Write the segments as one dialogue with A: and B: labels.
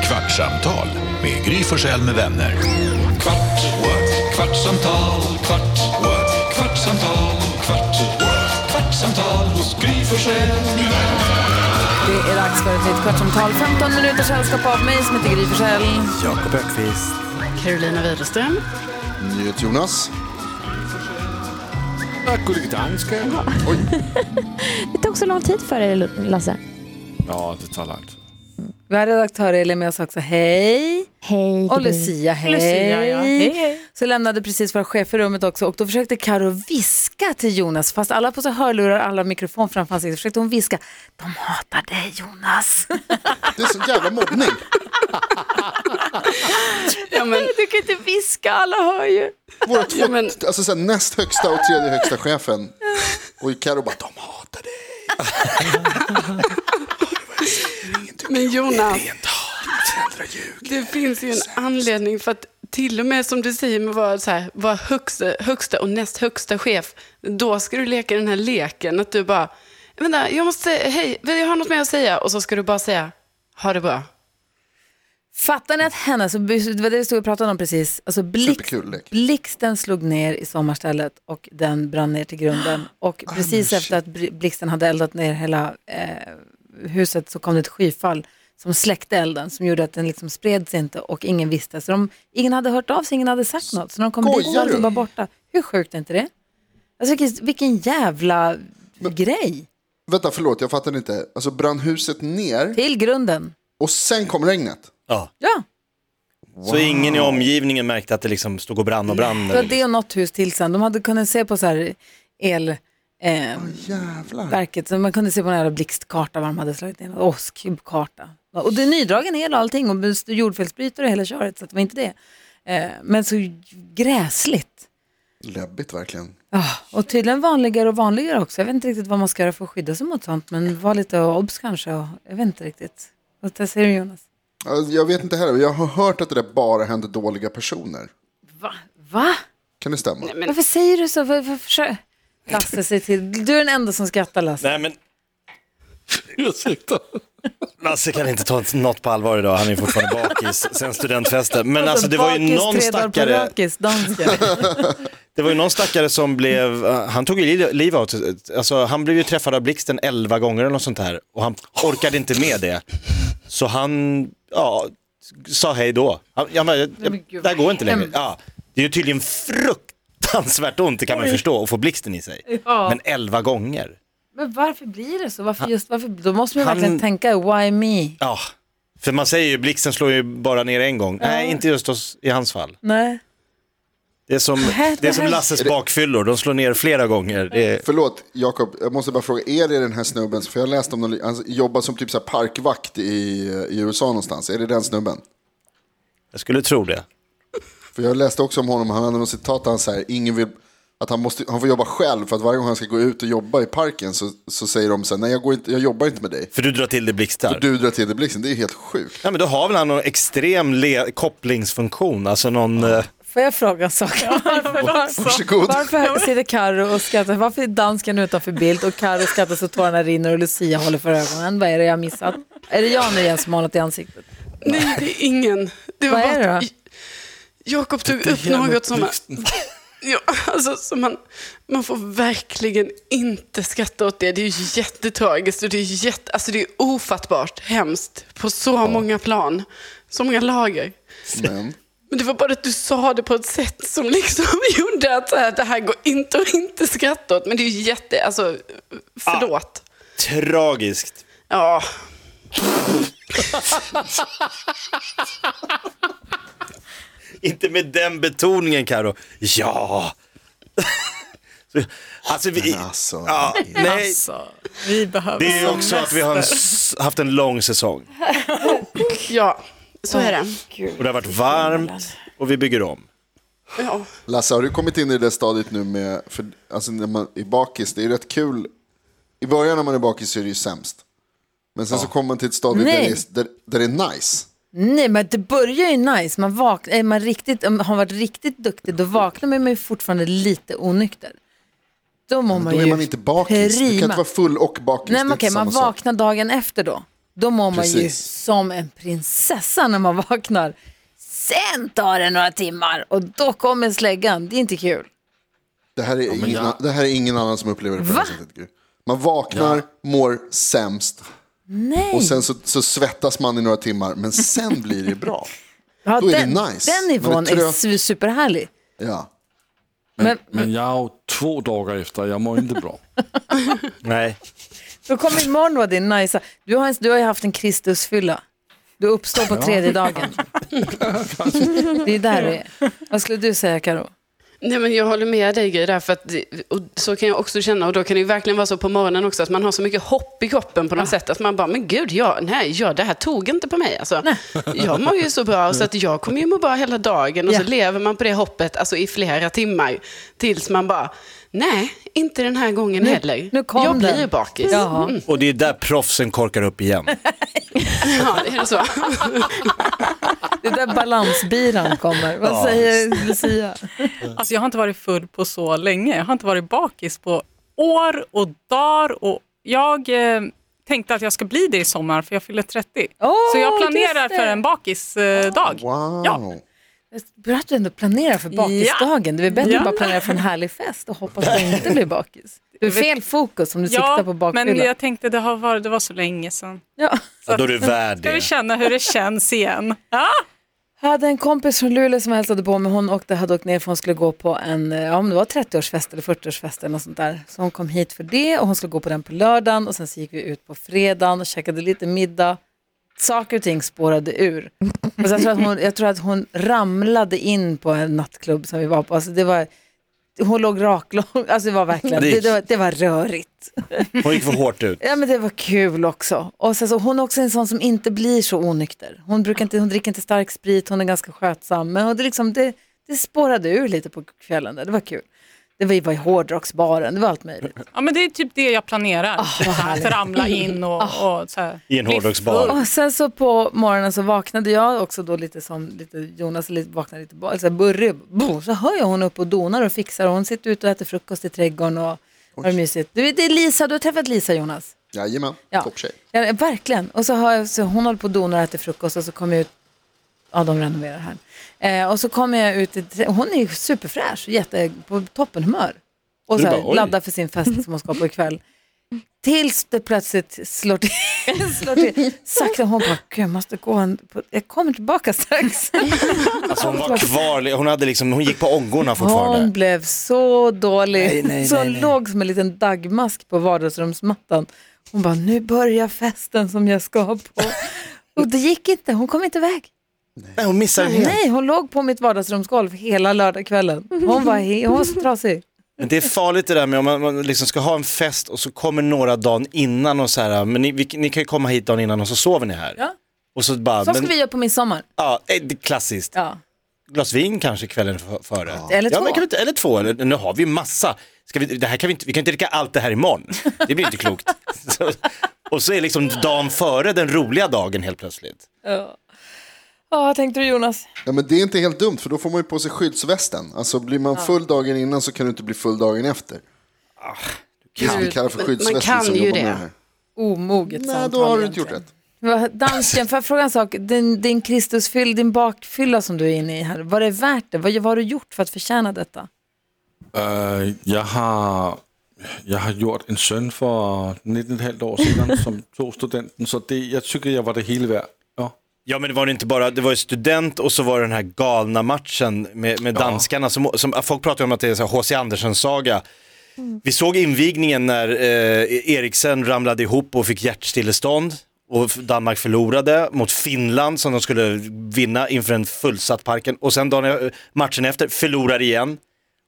A: Kvartsamtal med Gry Forssell med vänner. Kvart, what? kvartsamtal, kvart, what? kvartsamtal, kvart, what? kvartsamtal hos Gry Forssell med vänner.
B: Det är dags för ett nytt kvartsamtal. 15 minuters sällskap av mig som heter Gry Forssell.
C: Jakob Ökvist.
D: Carolina Widerström.
E: Jonas. Danska.
F: Det tog så lång tid för dig, Lasse.
C: Ja, det tar långt.
B: Vi har redaktör Elin med oss också. Hej!
F: Hej,
B: Och
F: Gry.
B: Lucia, hej!
D: Lucia, ja. Hej, hej.
B: Så lämnade precis våra chefer rummet också och då försökte Karo viska till Jonas, fast alla på så hörlurar, alla mikrofon framför ansiktet, försökte hon viska. De hatar dig Jonas.
E: Det är så jävla mobbning.
D: Ja, men,
B: du kan inte viska, alla hör ju.
E: Våra två,
D: Ja, men-
E: alltså, så här, näst högsta och tredje högsta chefen. Och Carro bara, de hatar dig.
D: men Jonas,
E: Rent hat, jädra ljug.
D: det finns ju en anledning för att till och med som du säger med vara så här, vara högsta, högsta och näst högsta chef, då ska du leka den här leken att du bara, vänta, jag måste, hej, jag har något mer att säga och så ska du bara säga, ha det bra.
B: Fattar ni att hennes, alltså, det var det vi stod och pratade om precis, alltså blixt,
E: Superkul lek.
B: blixten slog ner i sommarstället och den brann ner till grunden. Och
E: Oh,
B: precis efter att bri- blixten hade eldat ner hela eh, huset så kom det ett skyfall som släckte elden som gjorde att den liksom spreds inte och ingen visste. Så de, ingen hade hört av sig, ingen hade sagt något. Så när de kom dit så
E: Skojar
B: var allting
E: du?
B: bara borta. Hur sjukt är inte det? Alltså vilken, vilken jävla grej.
E: Vänta, förlåt, jag fattar inte. Alltså brann huset ner
B: Till grunden.
E: och sen kom regnet.
G: Ja.
B: Ja,
G: Så ingen i omgivningen märkte att det liksom stod och brann och brann.
B: det var
G: eller
B: det och något hus till sen. De hade kunnat se på så här el... Eh,
E: Jävlar.
B: verket. Så man kunde se på den här blixtkarta vad de hade slagit in. Och åskkarta. Och det är nydragen el och allting och jordfelsbrytare och hela köret. Så att det var inte det. Eh, men så gräsligt.
E: Läbbigt verkligen.
B: Ah, och tydligen vanligare och vanligare också. Jag vet inte riktigt vad man ska göra för att skydda sig mot sånt. Men var lite obs kanske. Och, jag vet inte riktigt. Vad där säger du Jonas?
E: Alltså, jag vet inte heller, jag har hört att det där bara händer dåliga personer.
B: Va? Va?
E: Kan det stämma?
B: Varför säger du så? Varför försöker... Lasse, säg till. Du är den enda som skrattar Lasse.
G: Nej men... Ursäkta. Lasse kan inte ta ett- något på allvar idag, han är fortfarande bakis sen studentfesten. Men alltså det var
B: Bakis,
G: ju någon
B: tre dagar på
G: stackare,
B: rökis, dansken.
G: det var ju någon stackare som blev, eh, han tog ju li- liv av sig. alltså han blev ju träffad av blixten elva gånger eller något sånt här och han orkade inte med det. Så han, ja, sa hej då. Han, jag, bara, jag,
B: men gud,
G: det här går inte längre.
B: hemskt.
G: Ja, det är ju tydligen fruktansvärt ont, det kan man ju förstå, att få blixten i sig. Men elva gånger.
B: Men varför blir det så? Varför just, varför, då måste man
G: han-
B: verkligen tänka, why me?
G: Ja, för man säger ju blixten slår ju bara ner en gång. Nej, inte just hos, i hans fall.
B: Nej.
G: Det är som,
B: här-
G: det är som
B: det här-
G: Lasses bakfyllor, de slår ner flera gånger. Det är,
E: Förlåt, Jakob, jag måste bara fråga, är det den här snubben, för jag läste om någon, han jobbar som typ så här parkvakt i, i USA någonstans, är det den snubben?
G: jag skulle tro det.
E: För jag läste också om honom, han hade något citat där han säger, ingen vill, att han, måste, han får jobba själv för att varje gång han ska gå ut och jobba i parken så, så säger de så här, nej jag, går inte, jag jobbar inte med dig.
G: För du drar till det blixtar.
E: Och du drar till det blixten, det är helt sjukt.
G: Ja, men då har väl han någon extrem le- kopplingsfunktion, alltså någon... eh,
B: Får jag fråga en sak? varför,
E: Varsågod.
B: varför sitter Karo och skrattar? Varför är dansken utanför bild och Karo skrattar så tårarna rinner och Lucia håller för ögonen? Vad är det jag missat? Är det jag nu igen som har något i ansiktet?
D: Nej, det är ingen. Det var
B: Vad är
D: bara
B: det
D: att
B: då?
D: J- Jakob tog upp något som... Ja, alltså, som man, man får verkligen inte skratta åt det. Det är ju jättetragiskt och det är, jätte, alltså, det är ofattbart hemskt på så många plan. Så många lager.
E: Men
D: Men det var bara att du sa det på ett sätt som liksom gjorde att så här, det här går inte att inte skratta åt. Men det är ju jätte... Alltså, förlåt.
G: tragiskt.
D: Ja.
G: Inte med den betoningen, Karo. Ja! Så, alltså, vi...
E: alltså,
G: Ja, nej,
D: Vi behöver
G: det är ju också att vi har en, s- haft en lång säsong.
D: Ja, så är det.
G: Och det har varit varmt och vi bygger om.
D: Ja.
E: Lasse, har du kommit in i det stadiet nu med, för, alltså när man är bakis, det är rätt kul. I början när man är bakis så är det ju sämst. Men sen så kommer man till ett stadie där det,
B: Nej.
E: är, där, där det är nice.
B: Nej, men det börjar ju nice. Man vak- är man riktigt, om man har varit riktigt duktig, då vaknar man ju fortfarande lite onykter. Då mår man
E: Då
B: ju
E: är man inte bakis. Du kan
B: prima.
E: inte vara full och bakis.
B: Nej,
E: det
B: men
E: är
B: okej,
E: inte
B: man
E: samma sak.
B: vaknar dagen efter då. Då mår man ju
E: Precis.
B: som en prinsessa när man vaknar. Sen tar det några timmar och då kommer släggan. Det är inte kul.
E: Det här är, ingen, det här är ingen annan som upplever det på det här
B: Va?
E: sättet. Gry. Man vaknar, mår sämst
B: Nej.
E: och sen så, så svettas man i några timmar. Men sen blir det bra.
B: ja,
E: då är det
B: den,
E: nice.
B: Den
E: Men
B: nivån
E: det tror
B: är
E: jag-
B: su- superhärlig.
E: Ja.
B: Men
C: Men jag har två dagar efter, jag mår inte bra.
G: Nej.
B: då kommer imorgon vara din nice. Du har, du har ju haft en Kristusfylla. Du uppstår på tredje dagen. det är där det är. Vad skulle du säga Karo?
D: Nej, men jag håller med dig Gry, där, för att, och så kan jag också känna. Och då kan det ju verkligen vara så på morgonen också, att man har så mycket hopp i kroppen på något sätt. Att man bara, men gud, ja, nej, ja, det här tog inte på mig. Alltså, jag mår ju så bra, så att jag kommer ju må bra hela dagen. Och
B: Ja.
D: så lever man på det hoppet alltså, i flera timmar. Tills man bara, nej, inte den här gången heller.
B: nu kom
D: jag
B: den.
D: blir bakis.
B: Jaha.
D: Mm,
G: Och det är där proffsen korkar upp igen.
D: ja, är det så?
B: Det är där balansbiran kommer. Vad säger Lucia?
H: Alltså jag har inte varit full på så länge. Jag har inte varit bakis på år och dagar. Och jag eh, tänkte att jag ska bli det i sommar för jag fyller 30.
B: Åh,
H: så jag planerar
B: just det.
H: för en bakisdag.
E: Wow.
H: Ja.
B: Bra att du ändå planerar för bakisdagen. Det är bättre
H: Ja.
B: att bara planera för en härlig fest och hoppas att du inte blir bakis. Du är fel fokus om du siktar på
H: men
B: bakfyllan.
H: jag tänkte det, har varit, det var så länge sedan.
B: Ja.
G: Ja, då är du värd
H: Ska vi
G: det.
H: känna hur det känns igen? Ja,
B: Jag hade en kompis från Luleå som jag hälsade på mig. Hon åkte, hade åkt ner för hon skulle gå på en, eh, ja, om det var 30-årsfest eller 40-årsfest eller något sånt där. Så hon kom hit för det och hon skulle gå på den på lördagen och sen så gick vi ut på fredagen och käkade lite middag. Saker och ting spårade ur. Och så jag, tror att hon, jag tror att hon ramlade in på en nattklubb som vi var på. Alltså det var, hon låg raklång, alltså det var verkligen, det, det, var, det var rörigt.
G: Hon gick för hårt ut.
B: Ja men det var kul också. Och sen så, hon är också en sån som inte blir så onykter. Hon, brukar inte, hon dricker inte stark sprit, hon är ganska skötsam. Men och det, liksom, det, det spårade ur lite på kvällen där, det var kul. Det var, ju- var i hårdrocksbaren, det var allt möjligt.
H: ja men det är typ det jag
B: Ah,
H: planerar. Oh, att ramla in och, och så här.
G: I en
H: bli
G: hårdrocksbar.
H: full.
B: Och sen så på morgonen så vaknade jag också då lite som lite Jonas, lite, vaknade lite ba- så här burrig. Bo, så hör jag hon upp och donar och fixar och hon sitter ute och äter frukost i trädgården och har det mysigt. Du, det är Lisa, du har träffat Lisa Jonas?
E: Jajamän,
B: Ja.
E: topptjej.
B: Ja, verkligen. Och så har jag, så hon håller på och donar och äter frukost och så kommer jag ut. Ja, de renoverar här. Eh, och så kommer jag ut. i trä- Hon är ju superfräsch och jätte, på toppenhumör. Och
G: Du
B: så
G: bara,
B: här,
G: oj.
B: laddar för sin fest som hon ska på ikväll. Tills det plötsligt slår till. slår till. Sakta, hon bara, "Gud, jag måste gå. En, på, jag kommer tillbaka strax.
G: Alltså hon var kvar, hon, hade liksom, hon gick på ångorna fortfarande.
B: Hon blev så dålig.
G: Nej, nej,
B: så
G: nej, nej.
B: låg som en liten dagmask på vardagsrumsmattan. Hon bara, nu börjar festen som jag ska på. Och det gick inte, hon kom inte iväg.
G: Nej, hon missade det helt.
B: Nej, hon låg på mitt vardagsrumsgolv hela lördagskvällen. Hon var, he- hon var så trasig.
G: Men det är farligt det där med om man, man liksom ska ha en fest och så kommer några dagen innan och så här, men ni, vi, ni kan ju komma hit dagen innan och så sover ni här.
B: Ja.
G: Och så bara,
B: Så ska
G: men,
B: vi göra på midsommar.
G: ja, eh, det är klassiskt.
B: Ja.
G: Glas vin kanske kvällen f- före.
B: Eller
G: Ja,
B: två.
G: men kan vi, inte- eller två, eller, nu har vi ju massa. Ska vi, det här kan vi, inte, vi kan inte dricka allt det här imorgon. Det blir inte klokt. så, och så är liksom dagen före den roliga dagen helt plötsligt.
B: Ja, Ja, vad tänkte du Jonas?
E: Ja, men det är inte helt dumt, för då får man ju på sig skyddsvästen. Alltså, blir man full dagen innan så kan du inte bli full dagen efter. Ah, Det är som vi kallar för
D: Men
E: skyddsvästen
D: man kan
E: som
D: ju
E: jobbar
D: det.
E: med det här.
B: Omoget
E: Nej,
B: samtal
E: då har du inte
B: egentligen.
E: gjort rätt.
B: Va- Dansken, får jag fråga en sak? Din, din Kristusfyll, din bakfylla som du är inne i här, var det värt det? Vad, vad har du gjort för att förtjäna detta?
C: Eh, jag, har, jag har gjort en søn för 19,5 år sedan som tog studenten, så det, jag tycker jag var det hela värd. Ja.
G: Ja men det var det inte bara, det var ju student och så var det den här galna matchen med, med danskarna. Som, som, folk pratar ju om att det är så här H.C. Andersen-saga. Vi såg invigningen när eh, Eriksen ramlade ihop och fick hjärtstillestånd. Och f- Danmark förlorade mot Finland som de skulle vinna inför en fullsatt parken. Och sen dagen, eh, matchen efter, förlorar igen.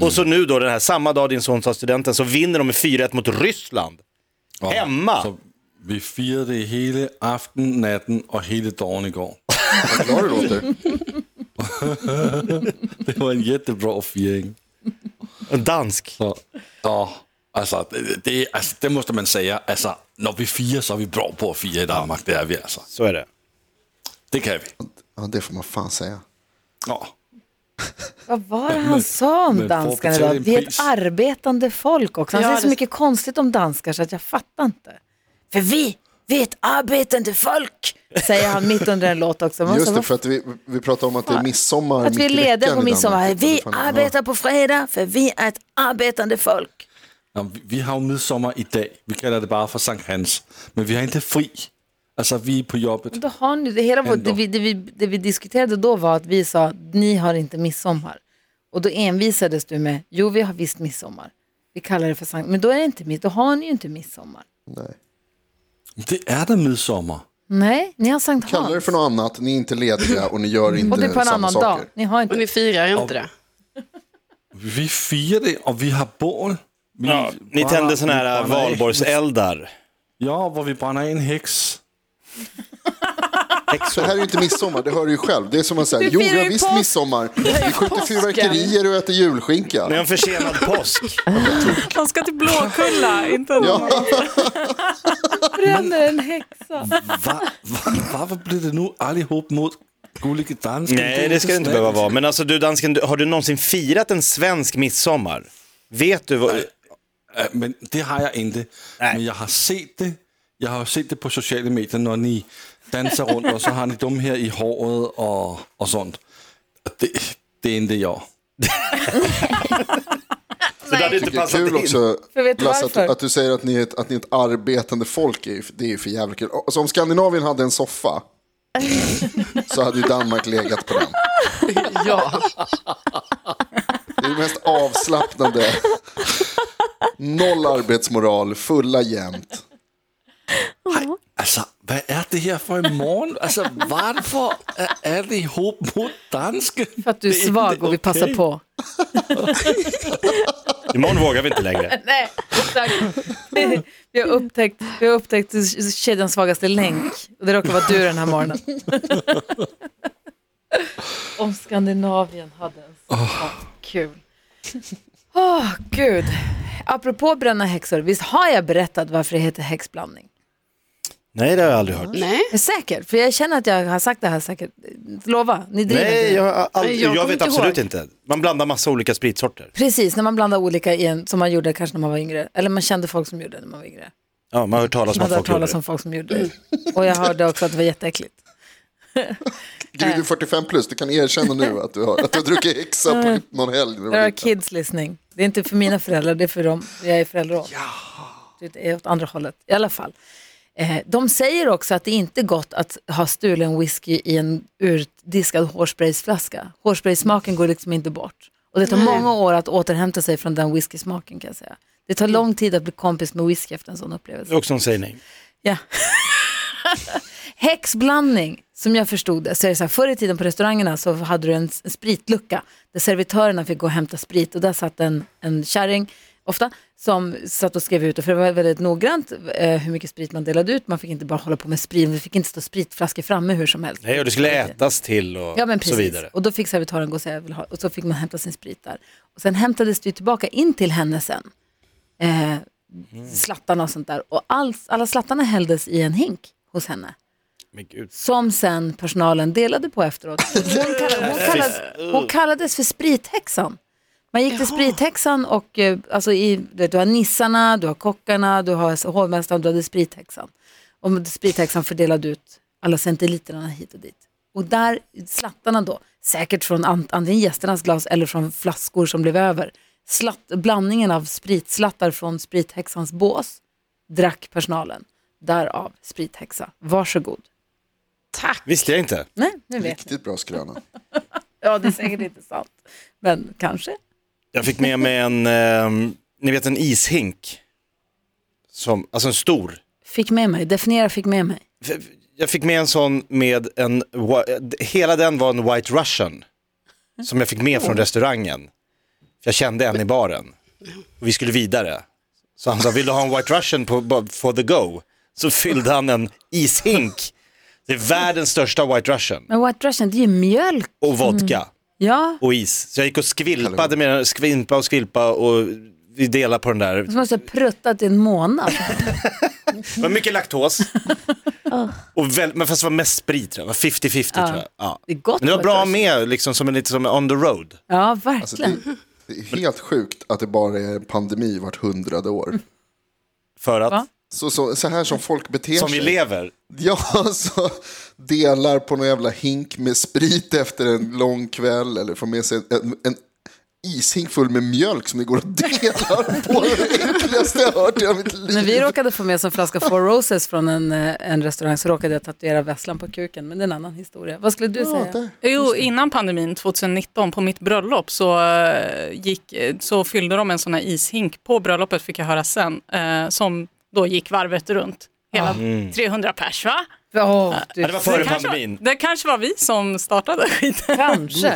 G: Och så
C: Mm.
G: nu då den här samma dag din son tar studenten så vinner de med 4-1 mot Ryssland. Hemma!
C: Så vi firade det hela aften, natten och hela dagen igår.
E: Vad glad du låter.
C: Det var en jättebra firing.
G: En dansk.
C: Så, ja, alltså, det, det, alltså, det måste man säga. Alltså, när vi firar så är vi bra på att fira i Danmark. Det är vi alltså.
G: Så är det.
C: Det kan vi.
E: Ja, det får man fan säga.
C: Ja.
B: Vad var det han sa om
C: men
B: danskarna
C: folk
B: idag?
C: betalar
B: Vi är ett
C: pris.
B: arbetande folk också. Han
D: Ja,
B: säger så
D: det-
B: mycket konstigt om danskar så att jag fattar inte. För vi vet arbetande folk, säger han mitt under en låt också. Man
E: Just
B: sa,
E: det,
B: "Vad
E: för att vi, vi pratade om att det är midsommar
B: Att vi
E: mitt i
B: leder
E: veckan
B: på
E: i
B: midsommar.
E: Danmark.
B: Vi
E: Ja.
B: arbetar på fredag för vi är ett arbetande folk.
C: Nå, vi- vi har jo midsommer i dag. Vi kalder det bare for Sankt Hans. Men vi har inte fri. Altså, vi er på jobbet.
B: Då har ni, det, hela vår,
C: Ändå.
B: det, vi, det, vi, det vi diskuterade då var att vi sa ni har inte midsommar. Och då envisades du med jo vi har visst midsommar. Vi kallar det för sankt, men då är det inte mitt, då har ni ju inte midsommar.
E: Nej.
C: Det er da midsommer.
B: Nej, ni har sankt
E: Kallar det
B: Hans.
E: för något annat, ni är inte lediga och ni gör inte
B: Och det är på en
E: samma
B: annan
E: saker.
B: dag. Ni har
D: Och
B: inte.
D: ni firar inte det?
C: Vi firer det, og vi har bål. Vi
G: Ja, ni
C: brænder-
G: tände sådana
C: vi
G: här
C: brænder af-
G: valborgseldar.
C: Ja, hvor vi brænder en heks.
E: Det här är ju inte midsommar, det hör du ju själv. Det är som att säga,
B: Vi
E: jo
B: firar
E: vi har
B: ju
E: visst
B: påsk.
E: midsommar. Vi skjuter fyrverkerier och äter julskinka.
G: Ni har en försenad påsk.
H: De ska till Blåkulla, inte ja.
B: Bränner en häxa.
C: Hva- hva- Hvorfor blev det nu allihop mot Gullige Dansken?
G: Nej, det ska det inte behöva vara. Men alltså du dansken, du- har du någonsin firat en svensk midsommar? Vet du vad...
C: Ja, Men det har jeg ikke.
G: Nej.
C: Men jeg har set det. Jeg har jo set det på sociale medier, når ni danser rundt, og så har ni dem her i håret og, og sånt. Og det, det endte jeg.
G: Så det hade inte
E: Det är
G: passat
E: kul
G: in.
E: också,
B: För vet du
E: Lasse, att, du-
B: varför?
E: att du säger att ni är ett, att ni är ett arbetande folk. Är, ju- det är ju för jävligt kul. Alltså, om Skandinavien hade en soffa så hade ju Danmark legat på den.
D: Ja.
E: Det är det mest avslappnade. Noll arbetsmoral, fulla jämt.
C: Altså, hvad er det her for i morgen? Altså, hvorfor er allihop mot danske?
B: För att du är
C: Det är
B: svag
C: inte
B: och vi passar
C: okej.
B: på.
G: Imorgon vågar vi inte längre.
B: Nej, exakt. Vi har upptäckt, vi har upptäckt kedjans svagaste länk. Och det råkar vara du den här morgonen. Om Skandinavien hade en sån. Kul. Åh, gud. Apropå bränna häxor, visst har jag berättat varför det heter häxblandning?
G: Nej, det har jag aldrig hört.
D: Nej.
B: Jag är säker, för jag känner att jag har sagt det här säkert. Lova, ni driver
G: Nej,
B: inte.
G: jag, har aldrig,
D: Nej, jag
G: jag,
D: kommer
G: vet
D: inte
G: absolut
D: ihåg.
G: inte. Man blandar massa olika spritsorter.
B: Precis, när man blandar olika i en, som man gjorde kanske när man var yngre. Eller man kände folk som gjorde det när man var yngre.
G: Ja, man har hört talas om
B: Jag
G: att
B: hade hört
G: folk gjorde
B: talas
G: det.
B: om folk som gjorde det. Och jag hörde också att det var jätteäckligt.
E: Gry, du är 45 plus, du kan erkänna nu att du har, att du har druckit häxa på någon helg. när du
B: Det
E: var
B: var
E: liten.
B: kids listening. Det är inte för mina föräldrar, det är för dem. Jag är förälder åt. Det är åt andra hållet, i alla fall. Eh, de säger också att det inte är gott att ha stulen whisky i en urdiskad hårspraysflaska. Hårspraysmaken går liksom inte bort. Och det tar många år att återhämta sig från den whiskysmaken kan jag säga. Det tar lång tid att bli kompis med whisky efter en sån upplevelse.
G: Det är också en sägning.
B: Ja. Häxblandning, som jag förstod det, så är det så här, förr i tiden på restaurangerna så hade du en s- en spritlucka där servitörerna fick gå och hämta sprit och där satt en, en kärring, ofta, som satt och skrev ut, och för det var väldigt noggrant eh, hur mycket sprit man delade ut, man fick inte bara hålla på med sprit, vi fick inte stå spritflaskor framme hur som helst.
G: Nej, och det skulle ätas till och
B: Ja men
G: så
B: precis.
G: vidare.
B: Och då fick servitören gå och säga jag vill ha, och så fick man hämta sin sprit där. Och sen hämtades det ju tillbaka in till henne sen. Eh, slattarna och sånt där. Och alls, alla slattarna hälldes i en hink hos henne.
G: Men gud.
B: Som sen personalen delade på efteråt. Hon, kalla, hon, kallades, hon kallades för sprithäxan. Man gick till sprithäxan och eh, alltså i, du vet, du har nissarna, du har kockarna, du har hovmästaren, du hade sprithäxan. Och sprithäxan fördelade ut alla centiliterna hit och dit. Och där, slattarna då, säkert från an- antingen gästernas glas eller från flaskor som blev över. Slatt, blandningen av spritslattar från sprithäxans bås drack personalen. Därav sprithäxa. Varsågod.
D: Tack.
G: Visste jag inte.
B: Nej, nu vet jag.
E: Riktigt bra skröna.
B: Ja, det är säkert inte sant. Men kanske.
G: Jag fick med mig en, ehm, ni vet en ishink. Som, alltså en stor.
B: Fick med mig, definiera fick med mig.
G: F- Jag fick med en sån med en, wi- hela den var en white russian. Som jag fick med från restaurangen. Jag kände en i baren. Och vi skulle vidare. Så han sa, vill du ha en white russian på, på- for the go? Så fyllde han en ishink. Det är världens största white russian.
B: Men White Russian, det är ju mjölk.
G: Och vodka.
B: Ja,
G: och is. Så jag gick och skvilpade med den, skvimpa och skvilpa och vi delade på den där.
B: som måste ha pruttat i en månad.
G: Det var mycket laktos. och väl, men fast det var mest sprit tror jag, Det var 50-50 tror jag. Ja.
B: Det är gott.
G: Men det var
B: White
G: bra
B: Russian.
G: med, liksom, som en, lite som en on the road.
B: Ja,
E: Alltså,
B: verkligen.
E: det, det är helt sjukt att det bara är pandemi vart hundrade år.
G: För att,
B: Va?
E: så, så, så här som folk beter
G: Som
E: sig.
G: vi lever.
E: Ja, så delar på någon jävla hink med sprit efter en lång kväll eller får med sig en, en ishink full med mjölk som det går att dela på. Det är det äckligaste jag har hört i hela mitt liv.
B: När vi råkade få med oss en flaska Four Roses från en, eh, en restaurang så råkade jag tatuera vässlan på kuken, men det är en annan historia. Vad skulle du
E: Ja,
B: säga?
E: där.
H: Jo, innan pandemin 2019 på mitt bröllop så, eh, gick, eh, så fyllde de en sån här ishink på bröllopet fick jag höra sen eh, som då gick varvet runt. Hela 300 pers va?
B: Åh, du,
G: Ja, det var Ah. Mm. före
H: kanske,
G: pandemin.
H: var- det kanske var vi som startade skiten.
B: Kanske.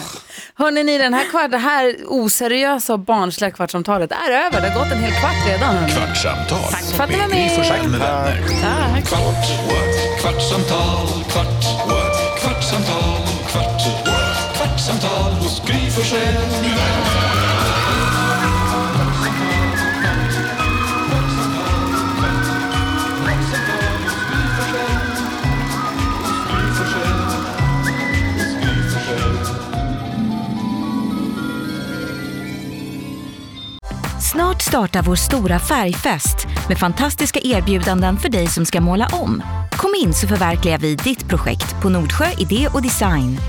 B: Hörrni, ni, den här, kvart, det här oseriösa och barnsliga kvartsamtalet är över. Det har gått en hel kvart redan. hörni.
A: Kvartsamtal
B: för att ni var
A: med Gry
B: med.
A: Forssell med vänner.
B: Tack.
A: Kvart, what? kvartsamtal, kvart, what? kvartsamtal, kvart, what? kvartsamtal hos Gry Forssell med vänner.
I: Snart startar vår stora färgfest med fantastiska erbjudanden för dig som ska måla om. Kom in så förverkligar vi ditt projekt på Nordsjö Idé och Design.